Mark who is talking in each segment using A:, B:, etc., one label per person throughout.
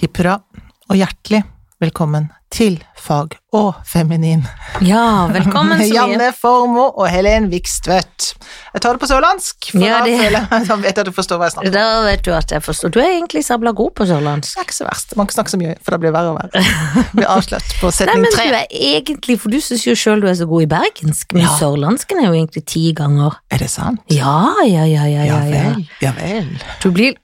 A: Hipp hurra, og hjertelig velkommen til Fag og feminin.
B: Ja, velkommen,
A: Med
B: Sofie.
A: Janne Formoe og Helen Vikstvedt. Jeg tar det på sørlandsk, for
B: Ja,
A: da,
B: det-
A: føler, jeg- da vet jeg at du forstår hva jeg snakker om.
B: Da vet du at jeg forstår. Du er egentlig sabla god på sørlandsk.
A: Det er ikke så verst. Man kan snakke så mye, for da blir det verre og verre. Blir avslørt på
B: Nei,
A: setning
B: men du
A: tre.
B: er egentlig, for du syns jo sjøl du er så god i bergensk, men
A: Ja.
B: sørlandsken er jo egentlig ti ganger.
A: Er det sant?
B: Ja, ja, ja, ja,
A: Ja
B: ja. ja.
A: vel. Ja vel.
B: Du blir,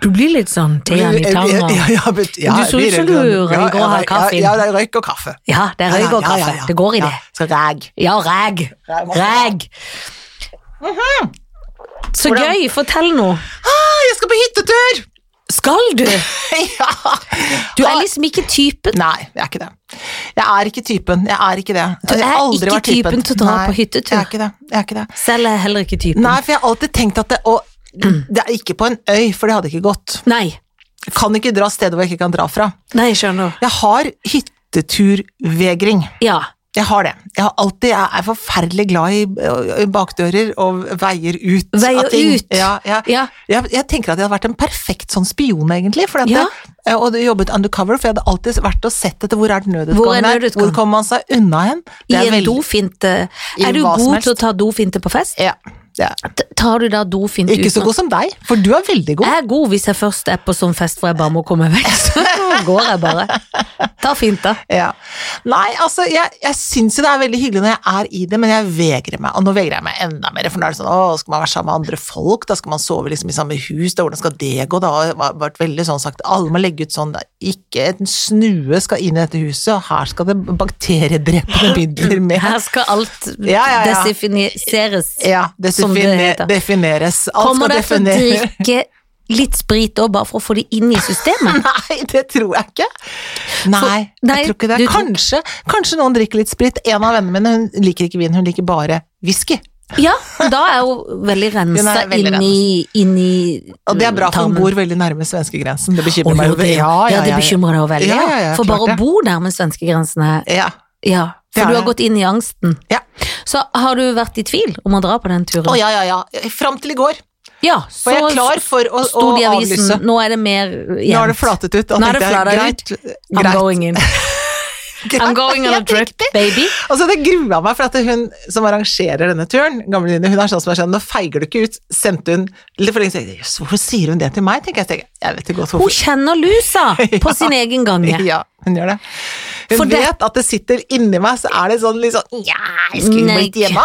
B: du blir litt sånn Tean i tanga.
A: Ja, ja, bet- ja,
B: Du så ut
A: blir det
B: som du
A: sånn.
B: røyker og
A: Ja,
B: har
A: ja,
B: kaffe.
A: Ja, det er røyk og kaffe.
B: Ja, det er røyk og
A: Ja, ja, ja,
B: kaffe.
A: ja.
B: Det går i
A: Ja,
B: det.
A: Så ræg.
B: Ja, ræg.
A: Ræg, masse
B: Ræg. Så
A: Hvordan-
B: gøy. Fortell nå.
A: Ah, jeg skal på hyttetur!
B: Skal du?
A: ja!
B: Du er liksom ikke typen.
A: Nei, jeg er ikke det. Jeg er ikke typen. Jeg er ikke det.
B: Du
A: Jeg har
B: er
A: aldri
B: ikke
A: vært typen.
B: typen til å dra
A: Nei,
B: på hyttetur.
A: Jeg er ikke det. Jeg er ikke det.
B: Selv er jeg heller ikke typen.
A: Nei, for jeg har alltid tenkt at det Og
B: Mm.
A: det er ikke på en øy, for det hadde ikke gått.
B: Nei.
A: Kan ikke dra steder hvor jeg ikke kan dra fra.
B: Nei, jeg skjønner.
A: Jeg har hytteturvegring.
B: Ja.
A: Jeg har det. Jeg, har alltid, jeg er forferdelig glad i ø, ø, bakdører og veier ut
B: Veier
A: av ting.
B: ut.
A: Ja, jeg,
B: Ja.
A: jeg, jeg tenker at jeg hadde vært en perfekt sånn spion, egentlig. fordi at
B: Ja.
A: jeg- og det jobbet undercover, for jeg hadde alltid vært og sett etter hvor er den
B: Hvor er
A: nødutgangen her.
B: nødutgangen?
A: Hvor kommer man seg unna hen?
B: I en
A: veldig-
B: dofinte.
A: I
B: Er du
A: hva som
B: god
A: helst.
B: til å ta dofinte på fest?
A: Ja, det er.
B: T- Tar du da dofinte
A: Ikke så
B: uten å-
A: god som deg, for du er veldig god.
B: Jeg er god hvis jeg først er på sånn fest hvor jeg bare må komme vekk. Så går jeg bare. Ta finta.
A: Ja. Nei, altså, jeg, jeg syns jo det er veldig hyggelig når jeg er i det, men jeg vegrer meg. Og nå vegrer jeg meg enda mer, for nå er det sånn å, skal man være sammen med andre folk, da skal man sove liksom i samme hus, da hvordan skal det gå? Det har vært- vært veldig sånn sagt, alle må legge ut sånn, da, ikke en snue skal inn i dette huset, og her skal det bakteriedrepende midler med.
B: Her skal alt
A: Ja, ja, ja.
B: desifiniseres.
A: Ja, det,
B: Som det
A: define-
B: heter.
A: defineres. Alt
B: Kommer
A: skal
B: dere til å
A: defineres.
B: drikke litt sprit òg, bare for å få det inn i systemet?
A: Nei, det tror jeg ikke. Nei,
B: nei,
A: jeg tror ikke det.
B: du tror-
A: Kanskje, kanskje noen drikker litt sprit. En av vennene mine hun liker ikke vin, hun liker bare whisky.
B: Ja, da er hun veldig
A: Hun
B: rensa
A: er veldig
B: inni, inni
A: Og det er bra, for hun
B: tarmen.
A: bor veldig nærme svenskegrensen. Det
B: Å,
A: bekymrer
B: jo,
A: meg jo.
B: det, ja, det bekymrer deg jo veldig.
A: Ja, ja, ja,
B: for
A: klart
B: bare
A: det.
B: å bo nærme svenskegrensen er
A: Ja.
B: Ja,
A: Det
B: for
A: er
B: du har
A: det.
B: gått inn i angsten.
A: Ja.
B: Så har du vært i tvil om å dra på den turen?
A: Å ja, ja, ja. Fram til i går
B: Ja,
A: var jeg klar
B: så
A: for å, å
B: sto det i avisen,
A: avlyse.
B: nå er det mer igjen.
A: Nå har det flatet ut. Da
B: Nå er det
A: tenkte jeg,
B: flatet
A: greit,
B: I'm
A: greit,
B: going in.
A: greit.
B: I'm going on a
A: Helt
B: trip,
A: riktig.
B: baby.
A: Altså, det grua meg, for at hun som arrangerer denne turen, gamle Line, hun er sånn som er sånn, nå feiger du ikke ut, sendte hun litt for lenge siden. Jøss, hvorfor sier hun det til meg, tenker jeg. tenker, Jeg vet ikke godt
B: Hun
A: hvorfor.
B: kjenner lusa
A: Ja.
B: på sin egen gange.
A: Ja, hun gjør det. Hun
B: For det-
A: vet at det sitter inni meg, så er det sånn litt sånn Nja, jeg skulle
B: Nei.
A: blitt hjemme.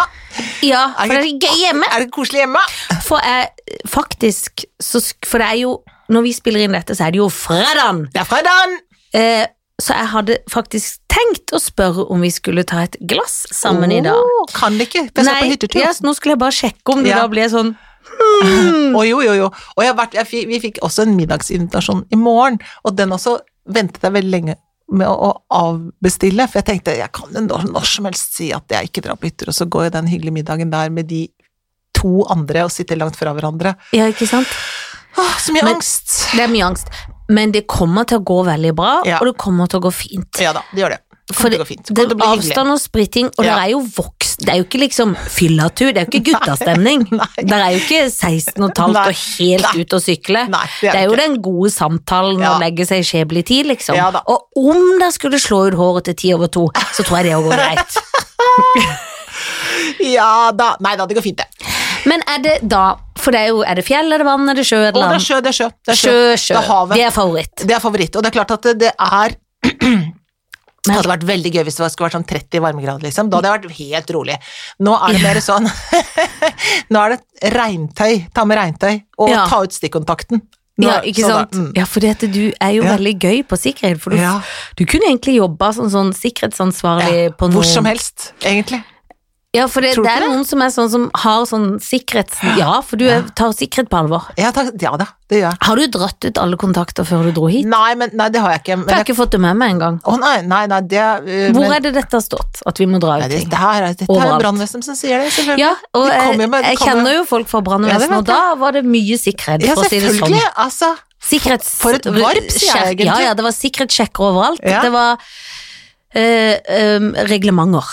B: Ja, for det er gøy hjemme.
A: Er det koselig hjemme?
B: For jeg faktisk så, sk- For det er jo Når vi spiller inn dette, så er det jo fredag!
A: Det er fredagen!
B: Eh, så jeg hadde faktisk tenkt å spørre om vi skulle ta et glass sammen i dag. sånn.
A: Åh, Kan det ikke, for Oh, jeg skal på hyttetur.
B: yes, nå skulle jeg bare sjekke om det
A: Ja.
B: da ble sånn
A: Å, jo, jo, jo. Og jeg har vært, jeg, fi- vi fikk også en middagsinvitasjon i morgen, og den også ventet jeg veldig lenge med å, å avbestille, for jeg tenkte jeg kan jo når, når som helst si at jeg ikke drar på hytter, og så går jo den hyggelige middagen der med de to andre og sitter langt fra hverandre.
B: Ja, ikke sant?
A: Åh, så mye
B: Men-
A: angst!
B: Det er mye angst. Men det kommer til å gå veldig bra,
A: Ja.
B: og det kommer til å gå fint.
A: Ja da, det gjør det. Det
B: For
A: kommer til å gå fint. Det kommer
B: det
A: til å bli hyggelig.
B: avstand og spriting, og
A: Ja.
B: det er jo voksen Det er jo ikke liksom fyllatur, det er jo ikke guttastemning.
A: nei.
B: Det er jo ikke 16 og et halvt
A: Nei,
B: og helt ut og sykle.
A: Nei, det
B: Det
A: er
B: er jo
A: ikke.
B: den gode samtalen
A: Ja.
B: å legge seg i skjebnelig tid, liksom.
A: Ja da.
B: og om det skulle slå ut håret til ti over to, så tror jeg det òg går greit.
A: Ja da. Nei da, det går fint, det.
B: Men er det da For det er jo er det fjell, er det vann, er det sjø, er
A: Å, det
B: det
A: er
B: land?
A: sjø, det er sjø. Det er sjø.
B: Sjø, sjø.
A: Det er havet.
B: Det er favoritt.
A: Det er favoritt. Og det er klart at det- det er Det
B: Men-
A: hadde vært veldig gøy hvis det var- skulle vært sånn 30 varmegrader, liksom. Da hadde jeg vært helt rolig. Nå er det mer sånn Nå er det regntøy. Ta med regntøy, og
B: Ja.
A: ta ut stikkontakten. Nå,
B: Ja, ikke
A: sånn da,
B: sant?
A: mm.
B: Ja, for det at du er jo
A: Ja.
B: veldig gøy på sikkerhet, for du,
A: Ja.
B: du kunne egentlig jobba som sånn sikkerhetsansvarlig
A: Ja,
B: på noen
A: Hvor som helst, egentlig.
B: Ja, for det,
A: Tror du
B: det er
A: ikke det?
B: noen som er sånn som har sånn sikkerhets... Ja, for du er- tar sikkerhet på alvor.
A: Ja, takk- ja da, det gjør jeg.
B: Har du dratt ut alle kontakter før du dro hit?
A: Nei, men, nei, det har jeg ikke. Men
B: For jeg har
A: jeg,
B: ikke fått det med meg engang.
A: å nei, nei, nei, det uh,
B: Hvor
A: men,
B: er det dette har stått, at vi må dra
A: nei,
B: ut
A: det,
B: ting?
A: det her, er- Dette er jo
B: Overalt.
A: brannvesenet som sier det, selvfølgelig.
B: Ja, og
A: De
B: jeg,
A: kommer med- de
B: jeg
A: kommer-
B: kjenner jo folk fra
A: Ja, det
B: brannvesenet,
A: vet
B: og da var det mye sikkerhet,
A: Ja,
B: for å si det sånn.
A: selvfølgelig. Altså.
B: Sikkerhets...
A: For et varp, sier jeg egentlig.
B: Ja, ja, det var sikkerhetssjekker overalt.
A: Ja.
B: Det var eh, eh, reglementer.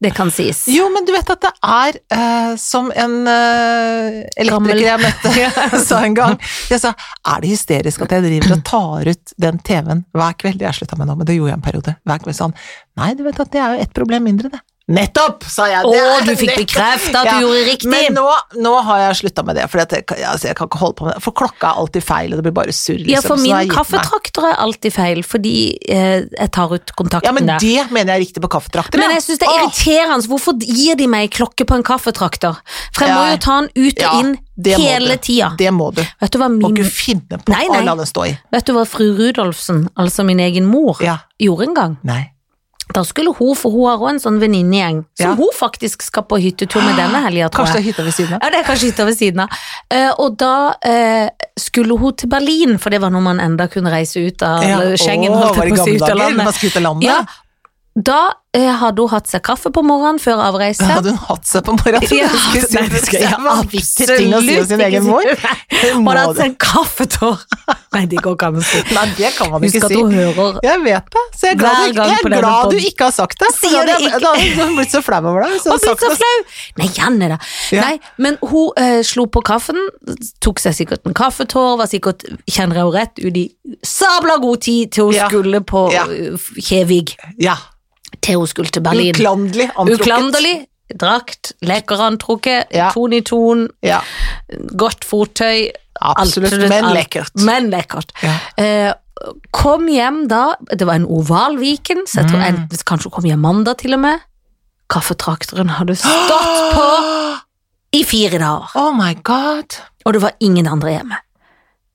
B: Det kan sies.
A: Jo, men du vet at det er eh, som en eh,
B: Gammel.
A: elektriker jeg møtte sa en gang. Jeg sa er det hysterisk at jeg driver og tar ut den TV-en hver kveld? Jeg slutta med det nå, men det gjorde jeg en periode. Hver kveld sa han nei, du vet at det er jo ett problem mindre, det. Nettopp, sa jeg.
B: Å,
A: Det er
B: du fikk
A: nettopp-
B: bekrefta at du gjorde riktig.
A: Men nå, nå har jeg slutta med det, for jeg, kan- altså, jeg kan ikke holde på med det. For klokka er alltid feil, og det blir bare surr.
B: Ja,
A: liksom, så
B: for
A: da har
B: min
A: jeg gitt meg.
B: kaffetrakter er alltid feil, fordi eh, jeg tar ut kontakten
A: Ja, men
B: der.
A: det mener jeg er riktig på kaffetrakter.
B: Men
A: ja.
B: jeg syns det er
A: Åh.
B: irriterende. Hvorfor gir de meg klokke på en kaffetrakter? For jeg må
A: Ja.
B: jo ta den ut og
A: Ja,
B: inn
A: det må
B: hele
A: du.
B: tida.
A: Det må du.
B: Vet du hva
A: Må
B: min
A: ikke finne på
B: Nei, nei.
A: å la det stå i.
B: Vet du hva fru Rudolfsen, altså min egen mor,
A: Ja.
B: gjorde en gang?
A: Nei.
B: Da skulle hun, for hun har òg en sånn venninnegjeng,
A: Ja.
B: som hun faktisk skal på hyttetur med denne helga, tror jeg.
A: Kanskje det er hytta ved siden av.
B: Ja, det er kanskje hytta ved siden av. Eh, og da eh, skulle hun til Berlin, for det var når man enda kunne reise ut av eller Schengen.
A: Åh,
B: holdt
A: var
B: jeg
A: det
B: på å si,
A: gamle
B: ut av
A: dager?
B: landet.
A: Man skulle ut av landet?
B: Ja, da eh, hadde hun hatt seg kaffe på morgenen før avreise.
A: Hadde hun hatt seg på morgenen?
B: Ja,
A: Nei, det skal jeg absolutt ting å si om sin
B: ikke
A: egen
B: si.
A: mor.
B: Nei,
A: Det
B: Hun
A: må
B: hadde hatt
A: du.
B: seg en kaffetår. Nei, det går ikke an å si.
A: Nei, det kan man
B: Husk
A: ikke
B: at
A: si.
B: hun hører
A: Jeg vet det, så jeg er glad,
B: Hver
A: du, ikke-
B: gang
A: jeg
B: på
A: er
B: denne
A: glad du
B: podden.
A: ikke har sagt det.
B: Sier
A: da,
B: det ikke.
A: da hadde hun blitt så flau over deg. hvis hun
B: Og
A: hadde
B: blitt så
A: sagt det.
B: flau! Nei, Janne, da.
A: Ja.
B: Nei, men hun eh, slo på kaffen, tok seg sikkert en kaffetår, var sikkert, kjenner jeg henne rett, ut i sabla god tid til hun
A: Ja.
B: skulle på
A: Ja.
B: eh, Kjevig,
A: Ja,
B: til hun skulle til Berlin.
A: uklanderlig antrukket.
B: Uklanderlig. Drakt, lekker antrukket,
A: Ja.
B: ton i ton,
A: Ja,
B: godt fottøy.
A: absolutt,
B: absolutt
A: men
B: alt.
A: lekkert.
B: Men lekkert.
A: Ja.
B: Eh, kom hjem da, det var en oval Viken, så
A: Mm.
B: jeg tror jeg, kanskje hun kom hjem mandag til og med. Kaffetrakteren hadde stått på i fire dager,
A: Oh my god.
B: og det var ingen andre hjemme.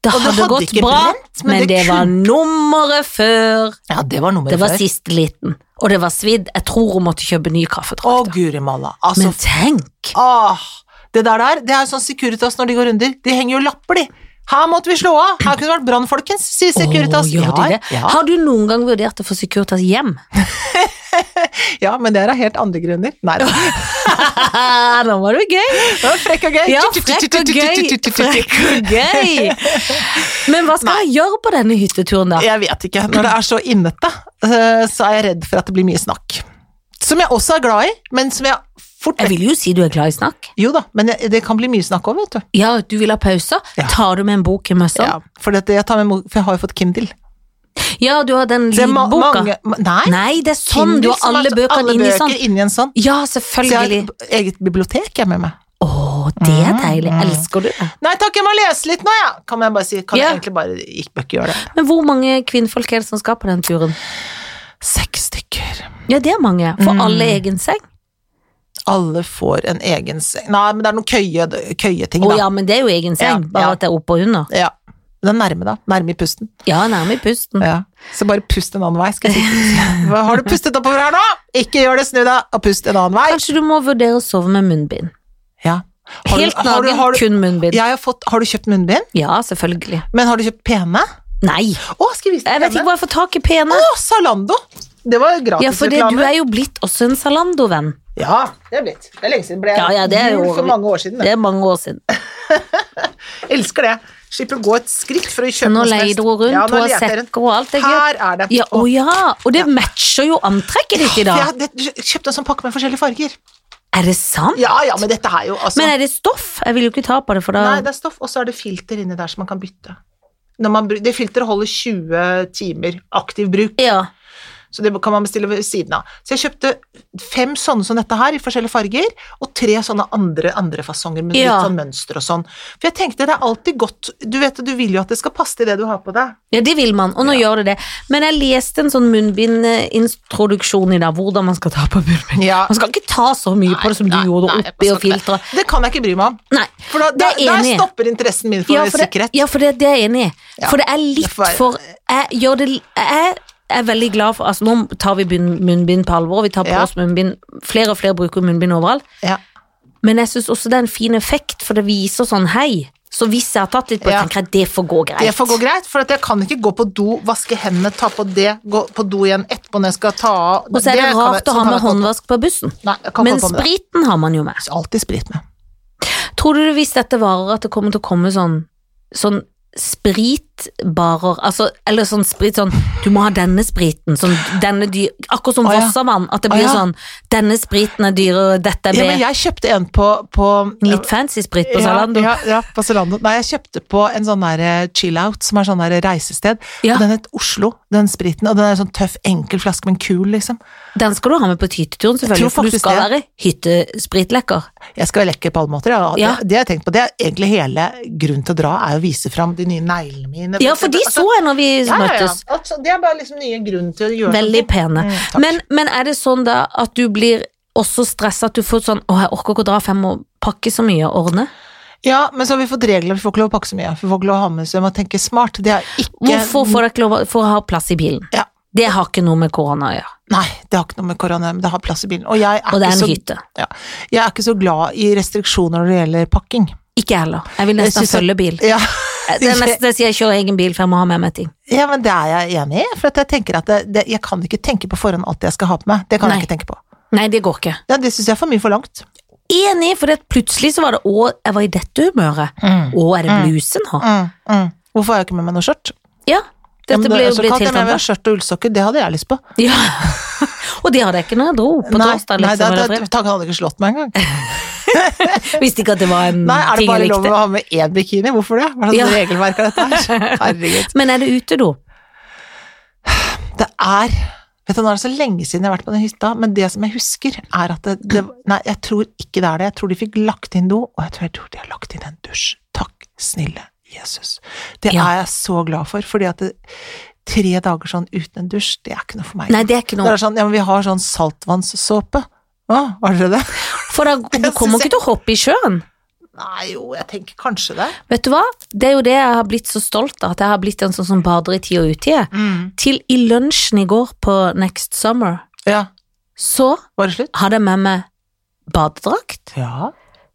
B: Det
A: Og det
B: hadde,
A: hadde
B: gått
A: ikke
B: bra,
A: brent, men
B: men,
A: det
B: det, var nummeret før.
A: Ja, det var nummeret
B: Det var
A: før.
B: siste liten, og det var svidd. Jeg tror hun måtte kjøpe ny
A: Å,
B: kaffetrakter.
A: guri malla. Altså,
B: Men tenk!
A: Åh, det der der, det er sånn Securitas når de går under. De henger jo lapper, de. Her måtte vi slå av! Her kunne det vært brann, folkens, sier Securitas.
B: Å, gjør de det?
A: ja,
B: Har du noen gang vurdert å få Securitas hjem?
A: ja, ja, men det er av helt andre grunner. Nei da.
B: Nå var det gøy!
A: Det var Frekk og gøy.
B: Ja, frekk og gøy. Frekk og gøy. Men hva skal jeg gjøre på denne hytteturen, da?
A: Jeg vet ikke. Når det er så innete, eh, så er jeg redd for at det blir mye snakk. Som jeg også er glad i, men som jeg fort
B: Jeg vil jo si du er glad i snakk.
A: Jo da, men jeg- det kan bli mye snakk òg, vet du.
B: Ja, du vil ha pauser.
A: Ja.
B: Tar du med en bok i møssa?
A: Ja, for, dette, jeg tar med, mo- for jeg har jo fått Kindle.
B: Ja, du har den
A: Det er ma-
B: lydboka.
A: mange- ma- Nei,
B: Nei, det er sånn. Du
A: Kindle
B: har
A: som er
B: alle
A: så-
B: bøkene
A: alle
B: inni
A: bøker
B: sånn.
A: inni en sånn.
B: Ja,
A: Så jeg
B: selvfølgelig.
A: har et eget bibliotek jeg med meg.
B: Å, det er
A: Mm.
B: deilig. Elsker du det?
A: Nei takk, jeg må lese litt nå, ja. Kan jeg bare si. Kan
B: Ja.
A: jeg egentlig bare ikke ikke gjøre det?
B: Men hvor mange kvinnfolk er det som skal på den turen?
A: Seks stykker.
B: Ja, det er mange. For
A: Mm.
B: alle egen seng.
A: Alle får en egen seng. Nei, men det er noen køye, køyeting,
B: Å
A: da.
B: ja, men det er jo egen seng,
A: Ja, ja.
B: bare at det er oppe og under.
A: ja. Det er nærme, da. Nærme i pusten.
B: Ja, nærme i pusten.
A: Ja. Så bare pust en annen vei. Skal jeg si. Hva- Har du pustet oppover her nå? Ikke gjør det, snu deg og pust en annen vei.
B: Kanskje du må vurdere å sove med munnbind.
A: Ja. Har du-
B: Helt
A: har du-
B: naken,
A: har du-
B: kun munnbind.
A: Jeg har, fått, har du kjøpt munnbind?
B: Ja, selvfølgelig.
A: Men har du kjøpt pene?
B: Nei,
A: Å, skal jeg vise deg
B: jeg vet ikke
A: pene?
B: hvor jeg får tak i pene.
A: Å, Zalando! Det var gratis
B: Ja, for det, du
A: reklame.
B: er jo blitt også en Zalando-venn.
A: Ja, det er blitt. Det er lenge siden. Ble
B: Ja, ja, det er jo
A: jul for mange år siden.
B: Det er mange år siden.
A: Elsker det. Slipper å gå et skritt for å kjøpe
B: Nå
A: noe som helst.
B: leier hun rundt,
A: Ja, nå
B: hun har
A: leter jeg rundt.
B: sekker og alt. Det er gøy.
A: Her er det.
B: Ja, å ja, og det matcher jo antrekket ditt i
A: Jeg
B: dag.
A: hadde- jeg kjøpte en sånn pakke med forskjellige farger.
B: Er det sant?
A: Ja, ja, men dette er jo altså
B: Men er det stoff? Jeg vil jo ikke ta på det, for
A: Nei,
B: da
A: det er stoff, og så er det filter inni der som man kan bytte. Når man, bru- det filteret holder 20 timer aktiv bruk,
B: Ja.
A: så det kan man bestille ved siden av. Så jeg kjøpte fem sånne som dette her, i forskjellige farger, og tre sånne andre, andre fasonger med
B: Ja.
A: litt sånn mønster og sånn. For jeg tenkte det er alltid godt Du vet, du vil jo at det skal passe til det du har på deg.
B: ja, det vil man, og nå gjør det det. Men jeg leste en sånn munnbindintroduksjon i dag, hvordan man skal ta på munnbind.
A: Ja.
B: Man skal ikke ta så mye på det som du
A: Nei,
B: gjorde
A: nei,
B: oppi
A: jeg skal
B: og
A: ikke det.
B: filtre.
A: Det kan jeg ikke bry meg om.
B: Nei,
A: For da,
B: Det er
A: der- der
B: enig.
A: stopper interessen min for,
B: for det-
A: sikkerhet.
B: Ja, for det, det er jeg enig i.
A: Ja.
B: For det er
A: Det
B: litt
A: får være-
B: for Jeg gjør det Jeg er veldig glad for Altså, nå tar vi bunn- munnbind på alvor, vi tar på
A: Ja.
B: oss munnbind. Flere og flere bruker munnbind overalt.
A: Ja.
B: Men jeg syns også det er en fin effekt, for det viser sånn hei. Så hvis jeg har tatt litt på det,
A: Ja.
B: tenker jeg det får gå greit.
A: Det får gå greit, for at jeg kan ikke gå på do, vaske hendene, ta på det, gå på do igjen etterpå når jeg skal ta av
B: og så er det,
A: kan jeg-
B: rart å
A: sånn
B: ha
A: kan
B: med
A: jeg ikke holde
B: håndvask på bussen.
A: på. Nei, jeg kan
B: Men
A: holde på med det.
B: spriten har man jo med.
A: Alltid sprit med.
B: Tror du hvis dette varer at det kommer til å komme sånn, sånn sprit spritbarer altså, Eller sånn sprit sånn Du må ha denne spriten. Sånn, denne dyr, akkurat som
A: Å, ja.
B: Vossavann. At det
A: Å,
B: blir
A: ja.
B: sånn Denne spriten er dyrere, dette er
A: Ja,
B: B.
A: men jeg kjøpte en på, på
B: Litt fancy sprit på
A: ja,
B: Zalando.
A: Ja, ja, på Zalando. Nei, jeg kjøpte på en sånn der eh, chill-out, som er sånn der reisested.
B: Ja.
A: Og den het Oslo, den spriten. Og den er sånn tøff, enkel flaske, men kul, liksom.
B: Den skal du ha med på hytteturen,
A: tror
B: selvfølgelig. For du
A: faktisk
B: skal
A: det.
B: være hyttespritlekker.
A: Jeg skal være lekker på alle måter. Ja.
B: Ja.
A: Det, det har jeg tenkt på. Det er egentlig hele grunnen til å dra, er å vise fram de nye neglene mine.
B: Ja, for de så jeg når vi
A: altså- ja, ja, ja.
B: møttes.
A: Altså, det er bare liksom nye grunnen til å gjøre
B: Veldig pene.
A: Mm, takk.
B: men, men er det sånn da at du blir også stressa at du får sånn Å, jeg orker ikke å dra fem og pakke så mye og ordne.
A: Ja, men så har vi fått regler, vi får ikke lov å pakke så mye. Vi får ikke lov å ha med så vi må tenke smart. Det er ikke
B: Hvorfor får dere ikke lov å- for å ha plass i bilen?
A: Ja.
B: Det har ikke noe med korona å gjøre.
A: Nei, det har ikke noe med korona, men det har plass i bilen. Og jeg er,
B: Og det er
A: ikke,
B: en
A: så,
B: hytte.
A: ja, jeg er ikke så glad i restriksjoner når det gjelder pakking.
B: Ikke jeg heller. Jeg vil
A: Jeg
B: nesten
A: synes at-
B: følge bil.
A: Ja,
B: Det er nesten jeg sier jeg kjører egen bil, for jeg må ha med meg ting.
A: ja men det er jeg enig i. For at jeg tenker at det, det, jeg kan ikke tenke på forhånd alt jeg skal ha på meg. Det kan
B: Nei.
A: jeg ikke tenke på.
B: Nei, det går ikke.
A: Ja, det syns jeg er for mye forlangt.
B: Enig, for det at plutselig så var det å, jeg var i dette humøret.
A: Mm.
B: Å, er det bluse nå?
A: Mm, mm. Hvorfor har jeg ikke med meg noe skjørt?
B: Ja.
A: Ja, men
B: Dette ble
A: det er
B: jo
A: så
B: blitt
A: kaldt,
B: helt
A: ja, men jeg vil ha
B: annerledes.
A: Skjørt og ullsokker, det hadde jeg lyst på.
B: Ja. Og det hadde jeg ikke når jeg dro på
A: nei,
B: torsdag.
A: nei, det,
B: Liksom,
A: det,
B: eller fredag.
A: tanken hadde ikke slått meg engang.
B: Visste ikke at det var en
A: Nei, er det
B: ting
A: bare
B: jeg
A: lov
B: likte.
A: å ha med én bikini? Hvorfor det? Hva slags
B: Ja.
A: regelverk er dette her? Herregud.
B: Men er det utedo?
A: Det er Vet du, Nå er det så lenge siden jeg har vært på den hytta, men det som jeg husker, er at det, det Nei, jeg tror ikke det er det. Jeg tror de fikk lagt inn do, og jeg tror, jeg tror de har lagt inn en dusj. Takk, snille Jesus. Det
B: Ja.
A: er jeg så glad for, fordi at det, tre dager sånn uten en dusj, det er ikke noe for meg.
B: Nei, det er ikke
A: Det
B: noe.
A: er sånn, ja, men vi har sånn saltvannssåpe. Å, var det det?
B: For da, du
A: Jeg
B: kommer
A: synes
B: ikke til å hoppe i sjøen.
A: Nei, jo, jeg tenker kanskje det.
B: Vet du hva? Det er jo det jeg har blitt så stolt av, at jeg har blitt en sånn som bader i tid og utide.
A: Mm.
B: Til i lunsjen i går på Next Summer,
A: Ja,
B: så
A: var det slutt?
B: hadde jeg med meg badedrakt,
A: Ja.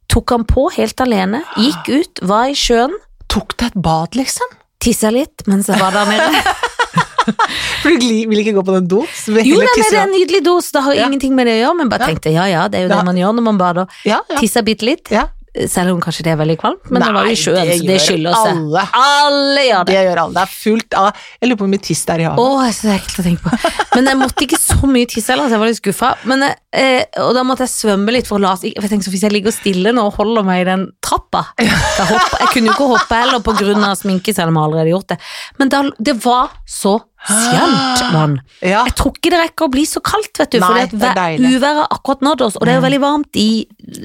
B: tok han på helt alene, gikk ut, var i sjøen,
A: Tok deg et bad, liksom?
B: tissa litt mens jeg var der nede.
A: For du gli- vil ikke gå på den do? så vil jeg
B: Jo,
A: heller
B: nei, men
A: tisse
B: det er en nydelig dos, det har
A: Ja.
B: ingenting med det å gjøre, men bare
A: Ja.
B: tenkte ja, ja, det er jo
A: Ja.
B: det man gjør når man bader.
A: Ja, ja.
B: Tissa bitte litt,
A: ja.
B: selv om kanskje det er veldig kvalmt, men det var jo i sjøen, så det
A: gjør
B: skylder seg.
A: Alle.
B: Alle gjør det.
A: Det gjør alle. Det er fullt av Jeg lurer på hvor mye tiss det er i
B: Å,
A: havet.
B: jeg synes det er ekkelt å tenke på. Men jeg måtte ikke så mye tisse heller, så jeg var litt skuffa. Men, eh, og da måtte jeg svømme litt for å la for jeg tenkte, så Hvis jeg ligger stille nå og holder meg i den trappa da hopper, Jeg kunne jo ikke hoppe heller på grunn av sminke, selv om jeg allerede gjort det. Men da, det var så skjønt, mann.
A: Ja.
B: Jeg tror ikke det rekker å bli så kaldt, vet du.
A: Ah. Nei,
B: For
A: det er deilig. Mm.
B: uværet har akkurat nådd oss, og det er jo veldig varmt i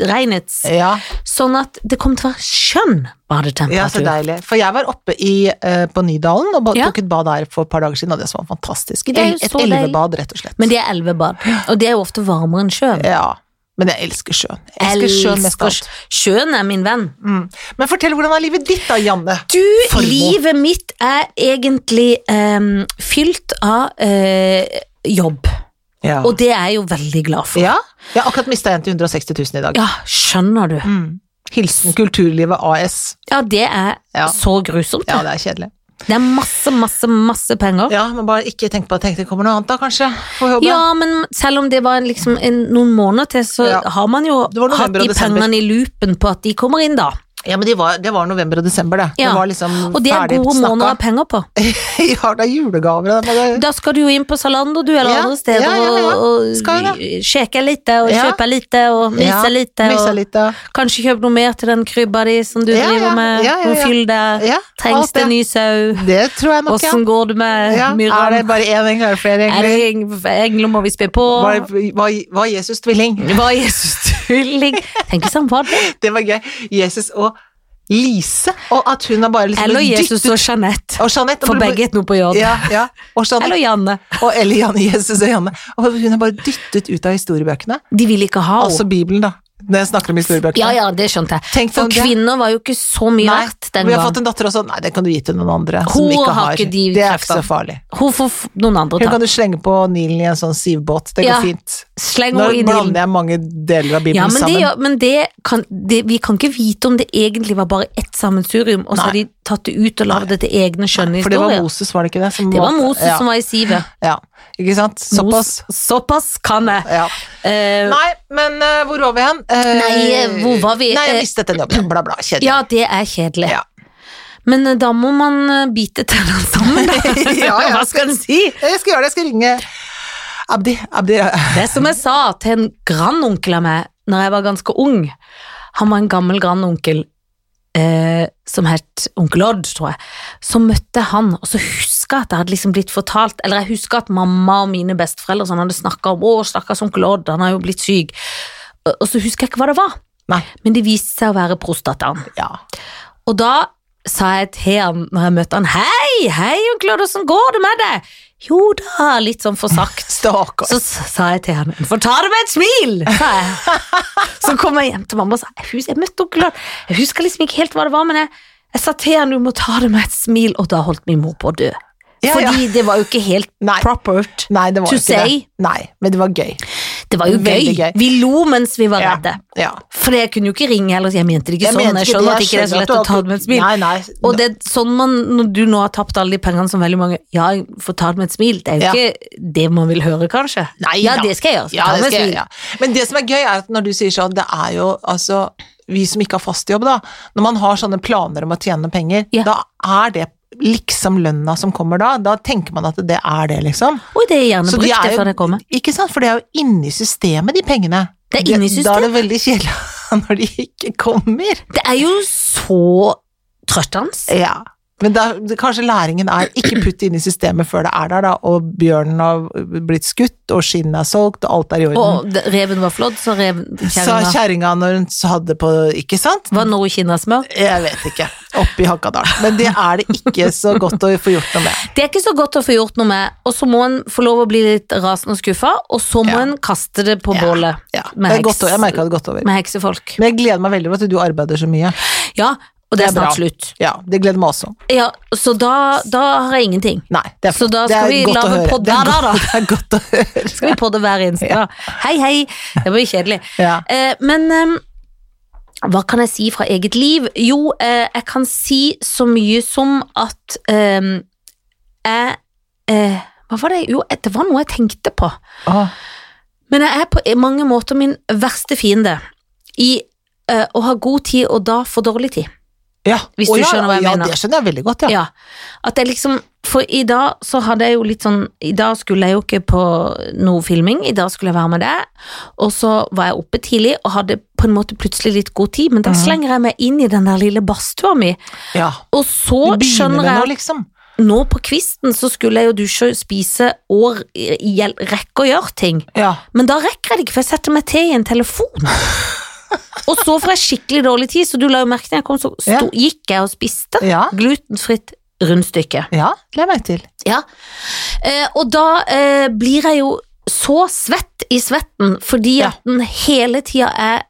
B: regnets.
A: Ja,
B: Sånn at det kommer til å være skjønn
A: ja, så
B: badetemperatur.
A: deilig. For jeg var oppe i, eh, på Nydalen og ba-
B: Ja.
A: tok et bad der for et par dager siden, og det som var fantastisk.
B: Det er jo
A: Et
B: så deilig.
A: elvebad, rett og slett.
B: Men det er elvebad, og det er jo ofte varmere enn sjøen.
A: Ja, men jeg elsker sjøen. Jeg elsker sjøen mest av alt.
B: Sjøen er min venn.
A: Mm. Men fortell, hvordan er livet ditt da, Janne?
B: Du,
A: Formoe.
B: livet mitt er egentlig em, fylt av eh, jobb,
A: Ja.
B: og det er jeg jo veldig glad for.
A: ja? Jeg har akkurat mista en til 160 000 i dag.
B: Ja, skjønner du.
A: Mm. Hilsen Kulturlivet AS.
B: Ja, det er
A: Ja.
B: så grusomt.
A: Ja, det
B: det.
A: er kjedelig.
B: det er masse, masse, masse penger. Ja.
A: Ja, men bare ikke tenk på at tenk, det kommer noe annet da, kanskje? Får håpe.
B: men selv om det var en- liksom en, noen måneder til, så
A: Ja.
B: har man jo
A: Det var november
B: hatt de
A: og desember.
B: pengene i loopen på at de kommer inn, da.
A: Ja, men de var, det var november og desember, det.
B: Ja.
A: Det var liksom
B: Og det er
A: ferdig
B: gode
A: snakka.
B: måneder å ha penger på.
A: ja, det er julegaver og det. men det-
B: Da skal du jo inn på Zalando du, eller
A: Ja,
B: andre steder
A: ja, ja, ja.
B: og,
A: Skal jeg
B: og sjekke lite og
A: Ja.
B: kjøpe lite og misse
A: Ja,
B: lite.
A: missa
B: Og
A: litt, ja.
B: kanskje kjøpe noe mer til den krybba di som du
A: Ja,
B: driver
A: ja,
B: med.
A: ja, ja,
B: Noe
A: ja.
B: fyll der.
A: ja.
B: Trengs
A: alt
B: det ny sau?
A: Det tror jeg nok, ja.
B: Åssen går det med
A: ja. Er
B: myrene?
A: det bare én engel, er det flere
B: Er det
A: engler?
B: eng- engler må vi spe på?
A: Var, var, var Jesus tvilling?
B: Hva er Jesus tulling? Tenk hvis han var det.
A: Det var gøy. Jesus og Lise, og at hun er bare liksom
B: Eller
A: dytt-
B: Jesus og Jeanette.
A: og Jeanette,
B: For
A: og-
B: begge et noe på jobb.
A: Ja, ja. Og Jeanette
B: Eller Janne.
A: og eller Janne, Jesus og Janne. Og hun er bare dyttet ut av historiebøkene.
B: De vil ikke ha henne.
A: Altså Bibelen, da. Når jeg snakker om historiebøkene.
B: Ja, ja, det skjønte jeg.
A: Tenk
B: For
A: deg om det.
B: kvinner var jo ikke så mye verdt den
A: vi har
B: gang.
A: fått en datter også. Nei, den kan du gi til noen andre.
B: Hun
A: som ikke
B: har
A: har.
B: ikke de
A: det er ikke
B: kreftene.
A: så farlig.
B: Hun får f- noen andre
A: Hun
B: ta.
A: kan du slenge på Nilen i en sånn sivbåt. Det går
B: Ja,
A: fint.
B: Sleng
A: Nå
B: henne i Nilen.
A: blander jeg mange deler av Bibelen
B: Ja, men, det,
A: sammen.
B: gjør- men det kan, det, vi kan ikke vite om det egentlig var bare ett sammensurium, og så
A: Nei.
B: har de tatt det ut og lagd det til egne skjønne
A: For det var
B: historier.
A: Moses, var det ikke det? som
B: Det var
A: måtte-
B: Moses
A: ja,
B: som var i sivet.
A: Ja, ikke sant? Såpass.
B: Mos- Såpass kan jeg.
A: Ja.
B: Eh,
A: Nei, men eh, hvor var vi hen? Eh,
B: Nei, eh, hvor var vi?
A: Nei,
B: Eh,
A: jeg mistet den jobben. Bla, bla. Kjedelig.
B: ja, det er kjedelig.
A: Ja.
B: Men eh, da må man eh, bite tennene sammen, da.
A: Ja, ja.
B: Hva skal en si?
A: Jeg skal gjøre det, jeg skal ringe Abdi. Abdi eh, ja.
B: Det er som jeg sa til en grandonkel av meg når jeg var ganske ung. Han var en gammel grandonkel eh, som het onkel Odd, tror jeg. Så møtte jeg han, og så husker jeg at jeg hadde liksom blitt fortalt Eller jeg husker at mamma og mine besteforeldre sånn hadde snakka om 'Å, stakkars onkel Odd, han har jo blitt syk'. Og- Og så husker jeg ikke hva det var,
A: Nei.
B: men det viste seg å være prostataen.
A: Ja.
B: Og da sa jeg til han når jeg møtte han 'Hei, hei, onkel Odd, åssen går det med deg?' Jo da, litt sånn for sakte.
A: Stakkar.
B: Så sa jeg til henne, for ta det med et smil, sa jeg. Så kom jeg hjem til mamma og sa, jeg husker, jeg møtte onkel Odd. Jeg husker liksom ikke helt hva det var, men jeg, jeg sa til henne, du må ta det med et smil, og da holdt min mor på å dø.
A: Ja, ja.
B: Fordi det var jo ikke helt
A: Nei.
B: proper.
A: Nei, det var
B: To
A: jo ikke
B: say.
A: det. Nei, men det var gøy.
B: Det var jo gøy.
A: Veldig gøy.
B: Vi lo mens vi var
A: Ja.
B: redde.
A: Ja.
B: For jeg kunne jo ikke ringe, eller jeg mente det ikke sånn.
A: mente
B: Jeg skjønner at
A: jeg
B: ikke det er så
A: skjønner
B: lett å
A: at du
B: ta det med et smil.
A: Nei, nei.
B: Og det er sånn man, når du nå har tapt alle de pengene som veldig mange Ja, jeg får ta det med et smil. Det er jo
A: Ja.
B: ikke det man vil høre, kanskje.
A: Nei
B: ja,
A: da.
B: det skal jeg gjøre.
A: Ja,
B: ta
A: det
B: med et
A: skal jeg,
B: smil.
A: ja. Men det som er gøy, er at når du sier sånn, det er jo altså vi som ikke har fast jobb, da. Når man har sånne planer om å tjene penger,
B: Ja.
A: da er det liksom lønna som kommer da. Da tenker man at det er det, liksom.
B: Oi, det er gjerne
A: Så de
B: brukt
A: er
B: det
A: jo-
B: før det kommer.
A: Ikke sant, for det er jo inni systemet, de pengene.
B: Det er inne i
A: Da er
B: systemet.
A: det veldig kjedelig når de ikke kommer.
B: Det er jo så trøttende.
A: Ja. Men da, det- kanskje læringen er ikke putt det inn i systemet før det er der, da, og bjørnen har blitt skutt, og skinnet er solgt, og alt er i orden.
B: Og det- reven var flådd, så reven
A: Sa
B: kjerringa
A: kjerringa når hun hadde på Ikke sant?
B: var noe kinnasmør.
A: Jeg vet ikke. Oppi Hakadal. Men det er det ikke så godt å få gjort noe med.
B: Det er ikke så godt å få gjort noe med, og så må en få lov å bli litt rasende og skuffa, og så må
A: Ja.
B: en kaste det på
A: Ja.
B: bålet
A: Ja.
B: Med
A: Det er godt
B: heks.
A: over. Jeg merka det er godt over.
B: med heksefolk.
A: Men jeg gleder meg veldig over at du arbeider så mye.
B: Ja, og
A: Det
B: det
A: er
B: er
A: bra.
B: snart slutt.
A: Ja, Det gleder meg også.
B: Ja, så da, da har jeg ingenting.
A: Nei, det er
B: Så da skal vi
A: godt å
B: lage
A: høre.
B: podd
A: Det er
B: der da,
A: godt- Det er godt å høre.
B: Skal vi podde hver eneste dag? Hei, hei! Det var jo kjedelig.
A: Ja.
B: Eh, men ehm, hva kan jeg si fra eget liv? Jo, eh, jeg kan si så mye som at ehm, jeg eh, Hva var det? Jo, det var noe jeg tenkte på.
A: Åh,
B: Men jeg er på mange måter min verste fiende i eh, å ha god tid og da for dårlig tid.
A: ja.
B: Hvis du
A: Å, ja,
B: skjønner hva jeg mener.
A: Ja, det skjønner jeg veldig godt, ja.
B: Ja. At jeg liksom For i dag så hadde jeg jo litt sånn I dag skulle jeg jo ikke på noe filming, i dag skulle jeg være med deg. Og så var jeg oppe tidlig og hadde på en måte plutselig litt god tid, men da
A: Mhm.
B: slenger jeg meg inn i den der lille badstua mi,
A: ja.
B: og så
A: Du begynner
B: skjønner
A: med noe,
B: jeg
A: liksom.
B: Nå på kvisten så skulle jeg jo dusje, spise og i- i- rekke å gjøre ting.
A: Ja.
B: Men da rekker jeg det ikke, for jeg setter meg til i en telefon. og så får jeg skikkelig dårlig tid, så du la jo merke til jeg kom, så
A: Ja.
B: sto, gikk jeg og spiste
A: Ja,
B: glutenfritt rundstykke.
A: ja la jeg merke til.
B: Ja. Eh, og da eh, blir jeg jo så svett i svetten, fordi
A: Ja.
B: at den hele tida er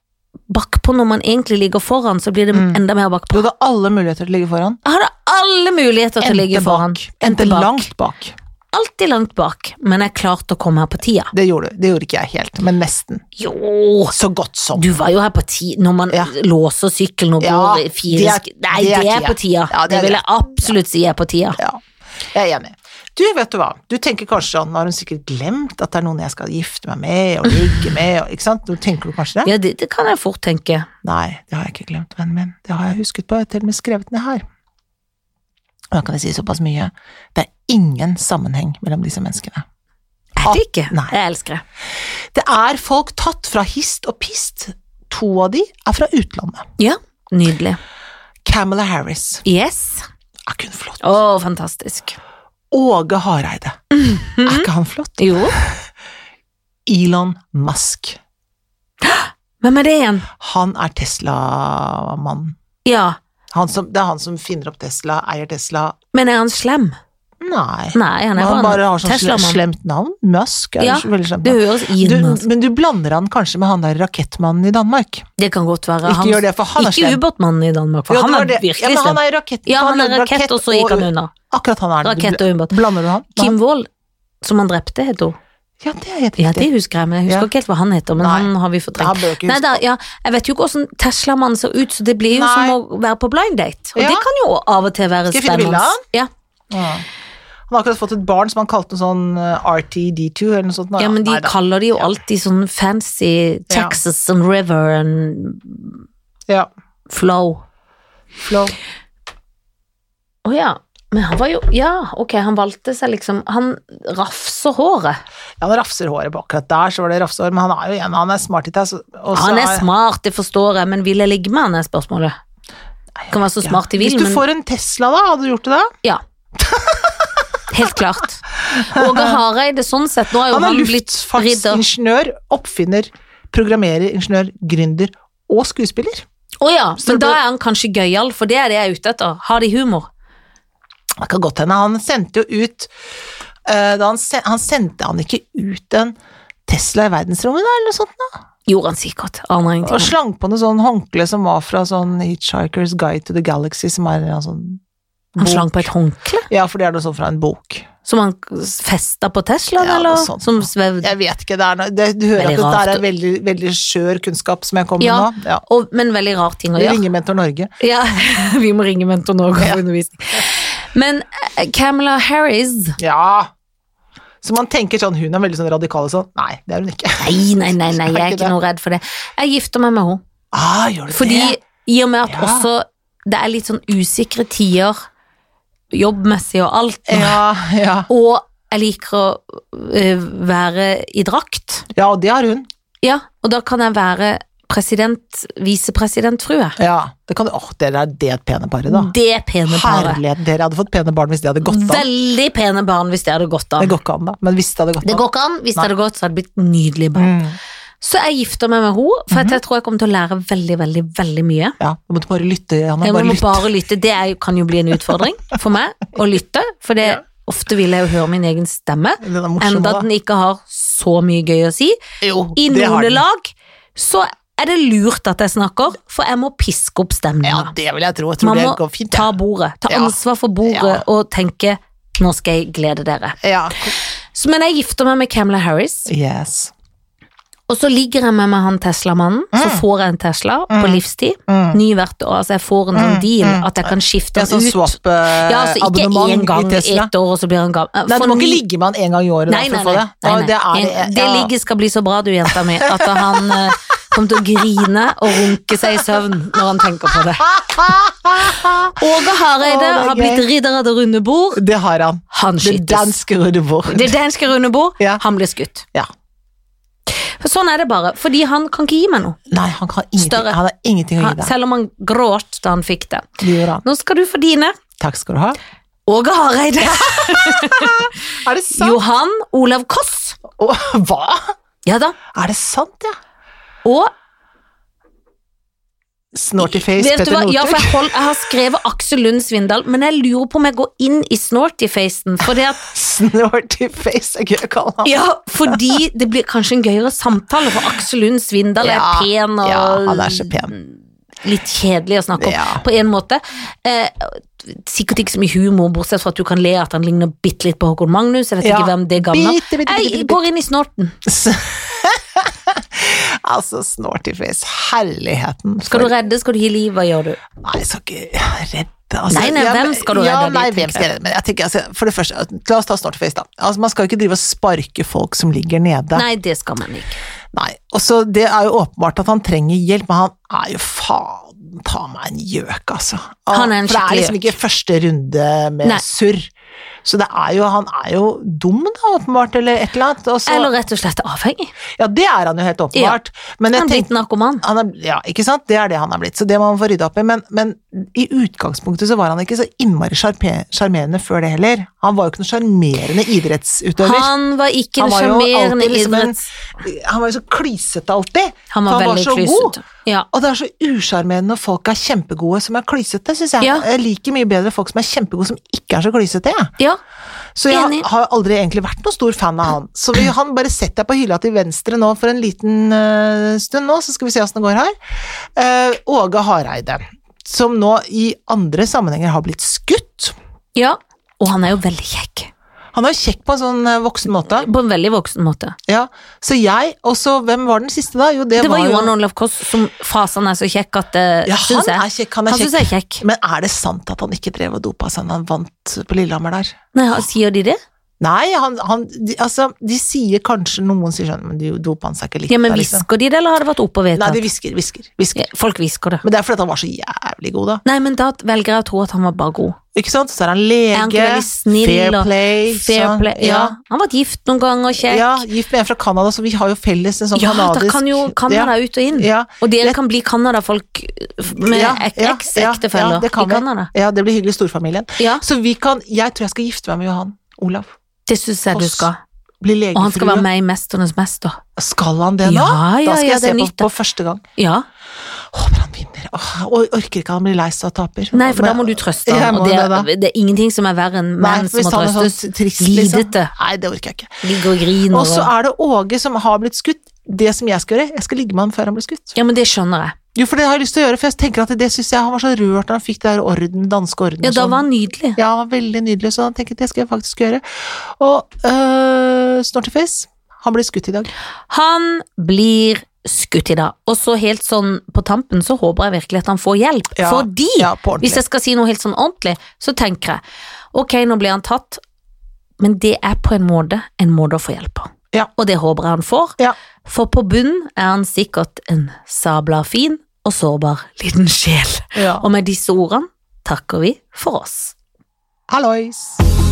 B: bakpå når man egentlig ligger foran, så blir det
A: Mm.
B: enda mer
A: Du
B: bakpå.
A: hadde alle muligheter til å ligge foran.
B: Jeg hadde alle muligheter til å ligge
A: Endte
B: foran.
A: bak. Endte
B: bak.
A: langt bak.
B: Alltid langt bak, men jeg klarte å komme her på tida.
A: Det gjorde du. Det gjorde ikke jeg helt, men nesten.
B: Jo!
A: Så godt som.
B: Du var jo her på ti når man
A: Ja.
B: låser sykkelen og
A: Ja,
B: går i
A: det
B: fire
A: er-
B: sk... Nei,
A: det
B: det
A: er
B: er,
A: tida.
B: på tida.
A: Ja, det
B: det,
A: er
B: vil
A: det.
B: jeg absolutt si er på tida.
A: Ja, jeg er enig. Du, vet du hva, du tenker kanskje sånn, nå har hun sikkert glemt at det er noen jeg skal gifte meg med og ligge med, og, ikke sant? Nå tenker du kanskje det?
B: Ja, det, det kan jeg fort tenke.
A: Nei, det har jeg ikke glemt, vennen min. Det har jeg husket på, jeg har til og med skrevet ned her. Og da kan jeg si såpass mye. Det er ingen sammenheng mellom disse menneskene.
B: Er det ikke?
A: Nei.
B: Jeg elsker det.
A: Det er folk tatt fra hist og pist. To av de er fra utlandet.
B: Ja, nydelig.
A: Camilla Harris
B: Yes.
A: er ikke hun flott.
B: Å, fantastisk.
A: Åge Hareide. Er ikke han flott?
B: Jo.
A: Elon Musk.
B: Hvem er det igjen?
A: Han er Tesla-mannen.
B: Ja.
A: Han som, det er han som finner opp Tesla, eier Tesla.
B: Men er han slem?
A: Nei.
B: Nei, han
A: Han,
B: er
A: bare har sånn sle-
B: Tesla-mann.
A: slemt navn. Musk er
B: Ja,
A: jo så veldig slemt.
B: Det
A: navn.
B: høres
A: Du,
B: inn ut.
A: men du blander han kanskje med han der rakettmannen i Danmark.
B: Det kan godt være.
A: Ikke gjør det, for han er
B: Ikke
A: slem.
B: ubåtmannen i Danmark, for
A: Jo, det
B: han
A: var
B: er
A: det.
B: virkelig
A: ja, men
B: slem.
A: han er rakett,
B: Ja, han er
A: lagde
B: rakett, og så gikk han unna.
A: Akkurat han er det. Du
B: Rakett og ubåt.
A: bl- Blander du han? med han?
B: Kim Wold, som han drepte, het hun.
A: Ja, det er helt
B: Ja,
A: riktig.
B: det husker jeg, men jeg husker
A: Ja.
B: ikke helt hva han heter. Men
A: Nei.
B: han har vi
A: Det her
B: fortrengt.
A: bør jeg ikke
B: Nei
A: huske.
B: da, ja, jeg vet jo ikke hvordan Tesla-mannen ser ut, så det blir jo
A: Nei.
B: som å være på blind date. Og
A: Ja.
B: det kan jo av og til være
A: Skal jeg finne bildet
B: spennende.
A: av han?
B: Ja.
A: Ja. Han har akkurat fått et barn som han kalte noe sånn eh, RTD2 eller noe sånt. Nei,
B: ja, men de
A: nei da.
B: kaller det jo alltid sånn fancy Texas and River and
A: ja.
B: Flow.
A: Flow.
B: Å ja. Men han var jo Ja, ok, han valgte seg liksom Han rafser håret.
A: Ja, han rafser håret på akkurat der, så var det rafsehår, men han er jo igjen, han er smart i det. så- og så
B: han er
A: er-
B: smart, det forstår jeg, men vil jeg ligge med han, er spørsmålet. Kan være så
A: Ja.
B: smart de vil,
A: Hvis du
B: men
A: får en Tesla, da, hadde du gjort det da?
B: Ja. Helt klart. Åge Hareide, sånn sett, nå har jo
A: Han
B: han,
A: er
B: blitt ridder.
A: luftfartsingeniør, oppfinner, programmerer, ingeniør, gründer og skuespiller.
B: Å ja,
A: Står
B: men
A: det-
B: da er han kanskje gøyal, for det er det jeg er ute etter. Har de humor?
A: Det kan godt hende. Han sendte jo ut eh, da han, sen, han sendte han ikke ut en Tesla i verdensrommet, da, eller noe sånt? Da.
B: Gjorde han sikkert. Aner ingenting.
A: Og slang på noe sånn håndkle som var fra sånn Hitchhiker's Guide to the Galaxy, som er en sånn
B: Han slang på et håndkle
A: Ja, for det er noe sånt fra en bok.
B: som han festa på Teslaen,
A: Ja,
B: eller?
A: noe sånt.
B: Som svevde
A: Jeg vet ikke, det er noe det, Du hører
B: Veldig
A: at dette
B: rart.
A: er en veldig, veldig skjør kunnskap som jeg kommer
B: Ja.
A: med nå. Ja.
B: og, Men veldig rar ting å
A: Vi
B: gjøre.
A: ringer Mentor Norge.
B: Ja, vi må ringe mentor nå og gå på undervisning. Men eh, Kamala Harris
A: Ja! Så man tenker sånn, hun er veldig sånn radikal og sånn. Nei, det er hun ikke.
B: Nei, nei, nei, nei jeg
A: Er
B: er
A: ikke
B: ikke
A: det?
B: noe redd for det. Jeg gifter meg med henne.
A: Ah, gjør du
B: Fordi
A: det?
B: i og med at
A: Ja.
B: også det er litt sånn usikre tider, jobbmessig og alt,
A: Ja, ja.
B: og jeg liker å eh, være i drakt,
A: ja, og det har hun.
B: ja, og da kan jeg være president, visepresidentfrue.
A: Ja, det kan du, åh, dere er det pene paret, da.
B: Det pene paret.
A: Herlighet, dere hadde fått pene barn hvis det hadde gått an.
B: Veldig pene barn hvis det hadde gått
A: Det
B: an.
A: går ikke an, da. Men hvis det hadde gått
B: Det
A: an.
B: går ikke an. Hvis
A: Nei.
B: det hadde gått, så hadde det blitt nydelige barn.
A: Mm. Mhm.
B: Så jeg gifter meg med henne, for at jeg tror jeg kommer til å lære veldig, veldig, veldig mye.
A: Ja, du måtte bare lytte, Janne.
B: Jeg
A: Bare
B: må
A: lytte.
B: bare lytte. Det er, jo- kan jo bli en utfordring for meg å lytte, for det, ofte vil jeg jo høre min egen stemme.
A: Den er morsom,
B: Enda
A: da.
B: den ikke har så mye gøy å si.
A: Jo,
B: I
A: det har
B: noen
A: den.
B: lag så er det lurt at jeg snakker, for jeg må piske opp
A: Ja,
B: stemninga.
A: det vil jeg tro. Jeg tror
B: Man
A: det
B: må
A: går fint.
B: ta
A: Ja.
B: bordet, ta
A: Ja.
B: ansvar for bordet, og tenke 'nå skal jeg glede dere'.
A: Ja.
B: Så, men jeg gifter meg med Camilla Harris.
A: Yes.
B: Og så ligger jeg med meg han Tesla-mannen, så
A: Mm.
B: får jeg en Tesla på livstid.
A: Mm.
B: Ny hvert år, altså jeg får en sånn
A: Mm,
B: deal
A: mm.
B: at jeg kan skifte
A: Det er
B: den
A: sånn
B: ut. Altså, ja, altså ikke
A: swap-abonnement
B: én gang
A: i
B: i
A: Tesla.
B: ett år, og så blir han gammel.
A: Nei, du må ikke ligge med han en gang i året da,
B: Nei,
A: for
B: nei,
A: å
B: nei.
A: få det.
B: nei, nei.
A: Ja, det, er,
B: En-
A: det,
B: det
A: ja.
B: ligget skal bli så bra, du, jenta mi, at han eh, kommer til å grine og runke seg i søvn når han tenker på det. Åge
A: Å,
B: Hareide
A: det er
B: har blitt
A: gøy.
B: ridder av det runde bord.
A: Det har han.
B: Han
A: Det
B: skytes.
A: danske Røde Bord.
B: Det danske runde bord,
A: Ja.
B: han blir skutt.
A: Ja.
B: Sånn er det bare, fordi han kan ikke gi meg noe.
A: Nei, han kan ingenting,
B: Større.
A: han har ingenting å gi
B: Han,
A: deg.
B: selv om han gråt da han fikk det.
A: Det gjør han.
B: Nå skal du få dine.
A: Takk skal du ha.
B: Åge Hareide.
A: Er det sant?
B: Johan Olav Koss.
A: Å, hva?
B: Ja da.
A: Er det sant, ja?
B: Og
A: Snorty face
B: vet du
A: Petter
B: hva? Ja, for
A: Northug.
B: jeg, hold, jeg har skrevet Aksel Lund Svindal, men jeg lurer på om jeg går inn i snorty-facen. For det at,
A: Snorty face er gøy å kalle han.
B: ja, fordi det blir kanskje en gøyere samtale, for Aksel Lund Svindal er
A: Ja,
B: pen og
A: ja, han er så pen.
B: litt kjedelig å snakke om,
A: Ja.
B: på en måte. Eh, sikkert ikke så mye humor, bortsett fra at du kan le at han ligner bitte litt på Håkon Magnus. Jeg vet
A: Ja.
B: ikke hvem det gamle
A: Bitte, bitte, bitte, bitte,
B: Jeg
A: bitte.
B: går inn i snorten.
A: Altså, snorty face. Herligheten.
B: Skal du redde, skal du gi liv, hva gjør du?
A: Nei, jeg skal ikke redde altså,
B: Nei, nei,
A: Ja,
B: hvem
A: men-
B: skal du
A: ja,
B: redde,
A: Nei,
B: de,
A: hvem
B: tenker
A: skal jeg redde? Men jeg tenker, altså, for det første, at- la oss ta Snortface, da. Altså, man skal jo ikke drive og sparke folk som ligger nede.
B: Nei, det skal man ikke.
A: Nei. Og så Det er jo åpenbart at han trenger hjelp, men han er jo faen ta meg en gjøk, altså. Ah,
B: Han er en
A: for det er
B: skikkelig
A: liksom ikke første runde med
B: Nei.
A: surr. Så det er jo, han er jo dum, da, åpenbart, eller et eller annet. Og så,
B: Eller rett og slett avhengig.
A: Ja, det er han jo helt åpenbart. Men jeg
B: Han er
A: tenker
B: blitt narkoman.
A: han er, ja, ikke sant? Det er det han er blitt, så det må man få rydda opp i. Men, men i utgangspunktet så var han ikke så innmari sjarpe- sjarmerende før det heller. Han var jo ikke noen sjarmerende idrettsutøver.
B: Han var ikke
A: Han
B: en
A: var jo
B: sjarmerende
A: alltid liksom en-
B: idretts...
A: Han var jo så klysete alltid,
B: Han var
A: for han var
B: veldig
A: så god.
B: klysete. Ja.
A: Og det er så usjarmerende når folk er kjempegode som er klysete, syns jeg.
B: Ja.
A: Jeg liker mye bedre folk som er kjempegode som ikke er så klysete. jeg.
B: ja.
A: Så jeg
B: Enig.
A: har aldri egentlig vært noen stor fan av han. Så vi, han bare setter jeg på hylla til venstre nå for en liten eh, stund nå, så skal vi se åssen det går her. Eh, Åge Hareide, som nå i andre sammenhenger har blitt skutt.
B: ja. Og han er jo veldig kjekk.
A: Han er jo kjekk på en sånn eh, voksen måte.
B: På en veldig voksen måte.
A: Ja, så jeg, og så hvem var den siste da? Jo, det,
B: Det var
A: var jo
B: Johan Olav Koss som fasen er så kjekk at det
A: Ja,
B: syns
A: han
B: jeg.
A: er kjekk, han er
B: Han syns
A: kjekk.
B: jeg er kjekk.
A: Men er det sant at han ikke drev og dopa seg når han vant på Lillehammer der?
B: Nei, han- sier de det?
A: Nei, han, han de, altså, de sier kanskje Noen sier sånn, men de dopa han seg ikke litt
B: Ja, men
A: da, liksom.
B: Hvisker de det, eller har det vært oppe og
A: Nei,
B: vedtatt?
A: de hvisker, hvisker, hvisker.
B: Ja, Folk hvisker det.
A: Men det er fordi at han var så jævlig god, da.
B: Nei, men da velger jeg å tro at han var bare god.
A: Ikke sant? Så er han
B: Er han
A: lege,
B: ikke veldig snill
A: fair
B: og-
A: play.
B: Fair
A: sånn,
B: play. Ja. Han har vært gift noen ganger,
A: Ja.
B: kjekk.
A: ja, gift med en fra Canada, så vi har jo felles en sånn
B: Ja, da
A: kanadisk
B: kan jo Canada ut og inn.
A: Ja,
B: Og dere kan bli Canada-folk med
A: ja,
B: ek-
A: ja, ja,
B: eks-ektefeller
A: det kan
B: i
A: vi.
B: Canada.
A: Ja, det blir hyggelig i storfamilien.
B: Ja,
A: Så vi kan Jeg tror jeg skal gifte meg med Johan Olav.
B: det syns jeg du skal.
A: Bli
B: Og han skal
A: legefrue.
B: være med i Mesternes mester.
A: Skal han det nå?
B: Ja, ja,
A: da skal jeg
B: ja, det
A: se
B: er
A: på
B: nytt, da.
A: på første gang.
B: Ja.
A: Å, men han vinner. Åh, og orker ikke han bli lei seg og taper.
B: Nei, for da
A: Men-
B: må du trøste
A: Jeg
B: ham. Og
A: må
B: det
A: det, da.
B: er, det er ingenting som er verre enn
A: Nei,
B: menn
A: for
B: som
A: hvis
B: må
A: han er
B: trøstes.
A: sånn trist,
B: Lidete.
A: liksom. Nei, det orker jeg ikke.
B: Ligger og griner.
A: Og så
B: Og...
A: er det Åge som har blitt skutt. Det som jeg skal gjøre, jeg skal ligge med han før han blir skutt.
B: Ja, men det skjønner jeg.
A: Jo, for det har jeg lyst til å gjøre, for jeg tenker at det syns jeg han var så rørt da han fikk det der orden, danske orden.
B: Ja,
A: og
B: da
A: sånn.
B: var han nydelig.
A: Ja, han var veldig nydelig, så han tenkte det skal jeg faktisk gjøre. Og øh, Snorteface, han ble skutt i dag.
B: Han blir skutt i dag. Og så helt sånn på tampen så håper jeg virkelig at han får hjelp.
A: Ja,
B: Fordi
A: Ja, på
B: Hvis
A: ordentlig.
B: jeg skal si noe helt sånn ordentlig, så tenker jeg ok, nå blir han tatt, men det er på en måte en måte å få hjelp på.
A: Ja.
B: Og det håper jeg han får,
A: Ja.
B: for på bunnen er han sikkert en sabla fin og sårbar liten sjel.
A: Ja.
B: Og med disse ordene takker vi for oss.
A: Hallois!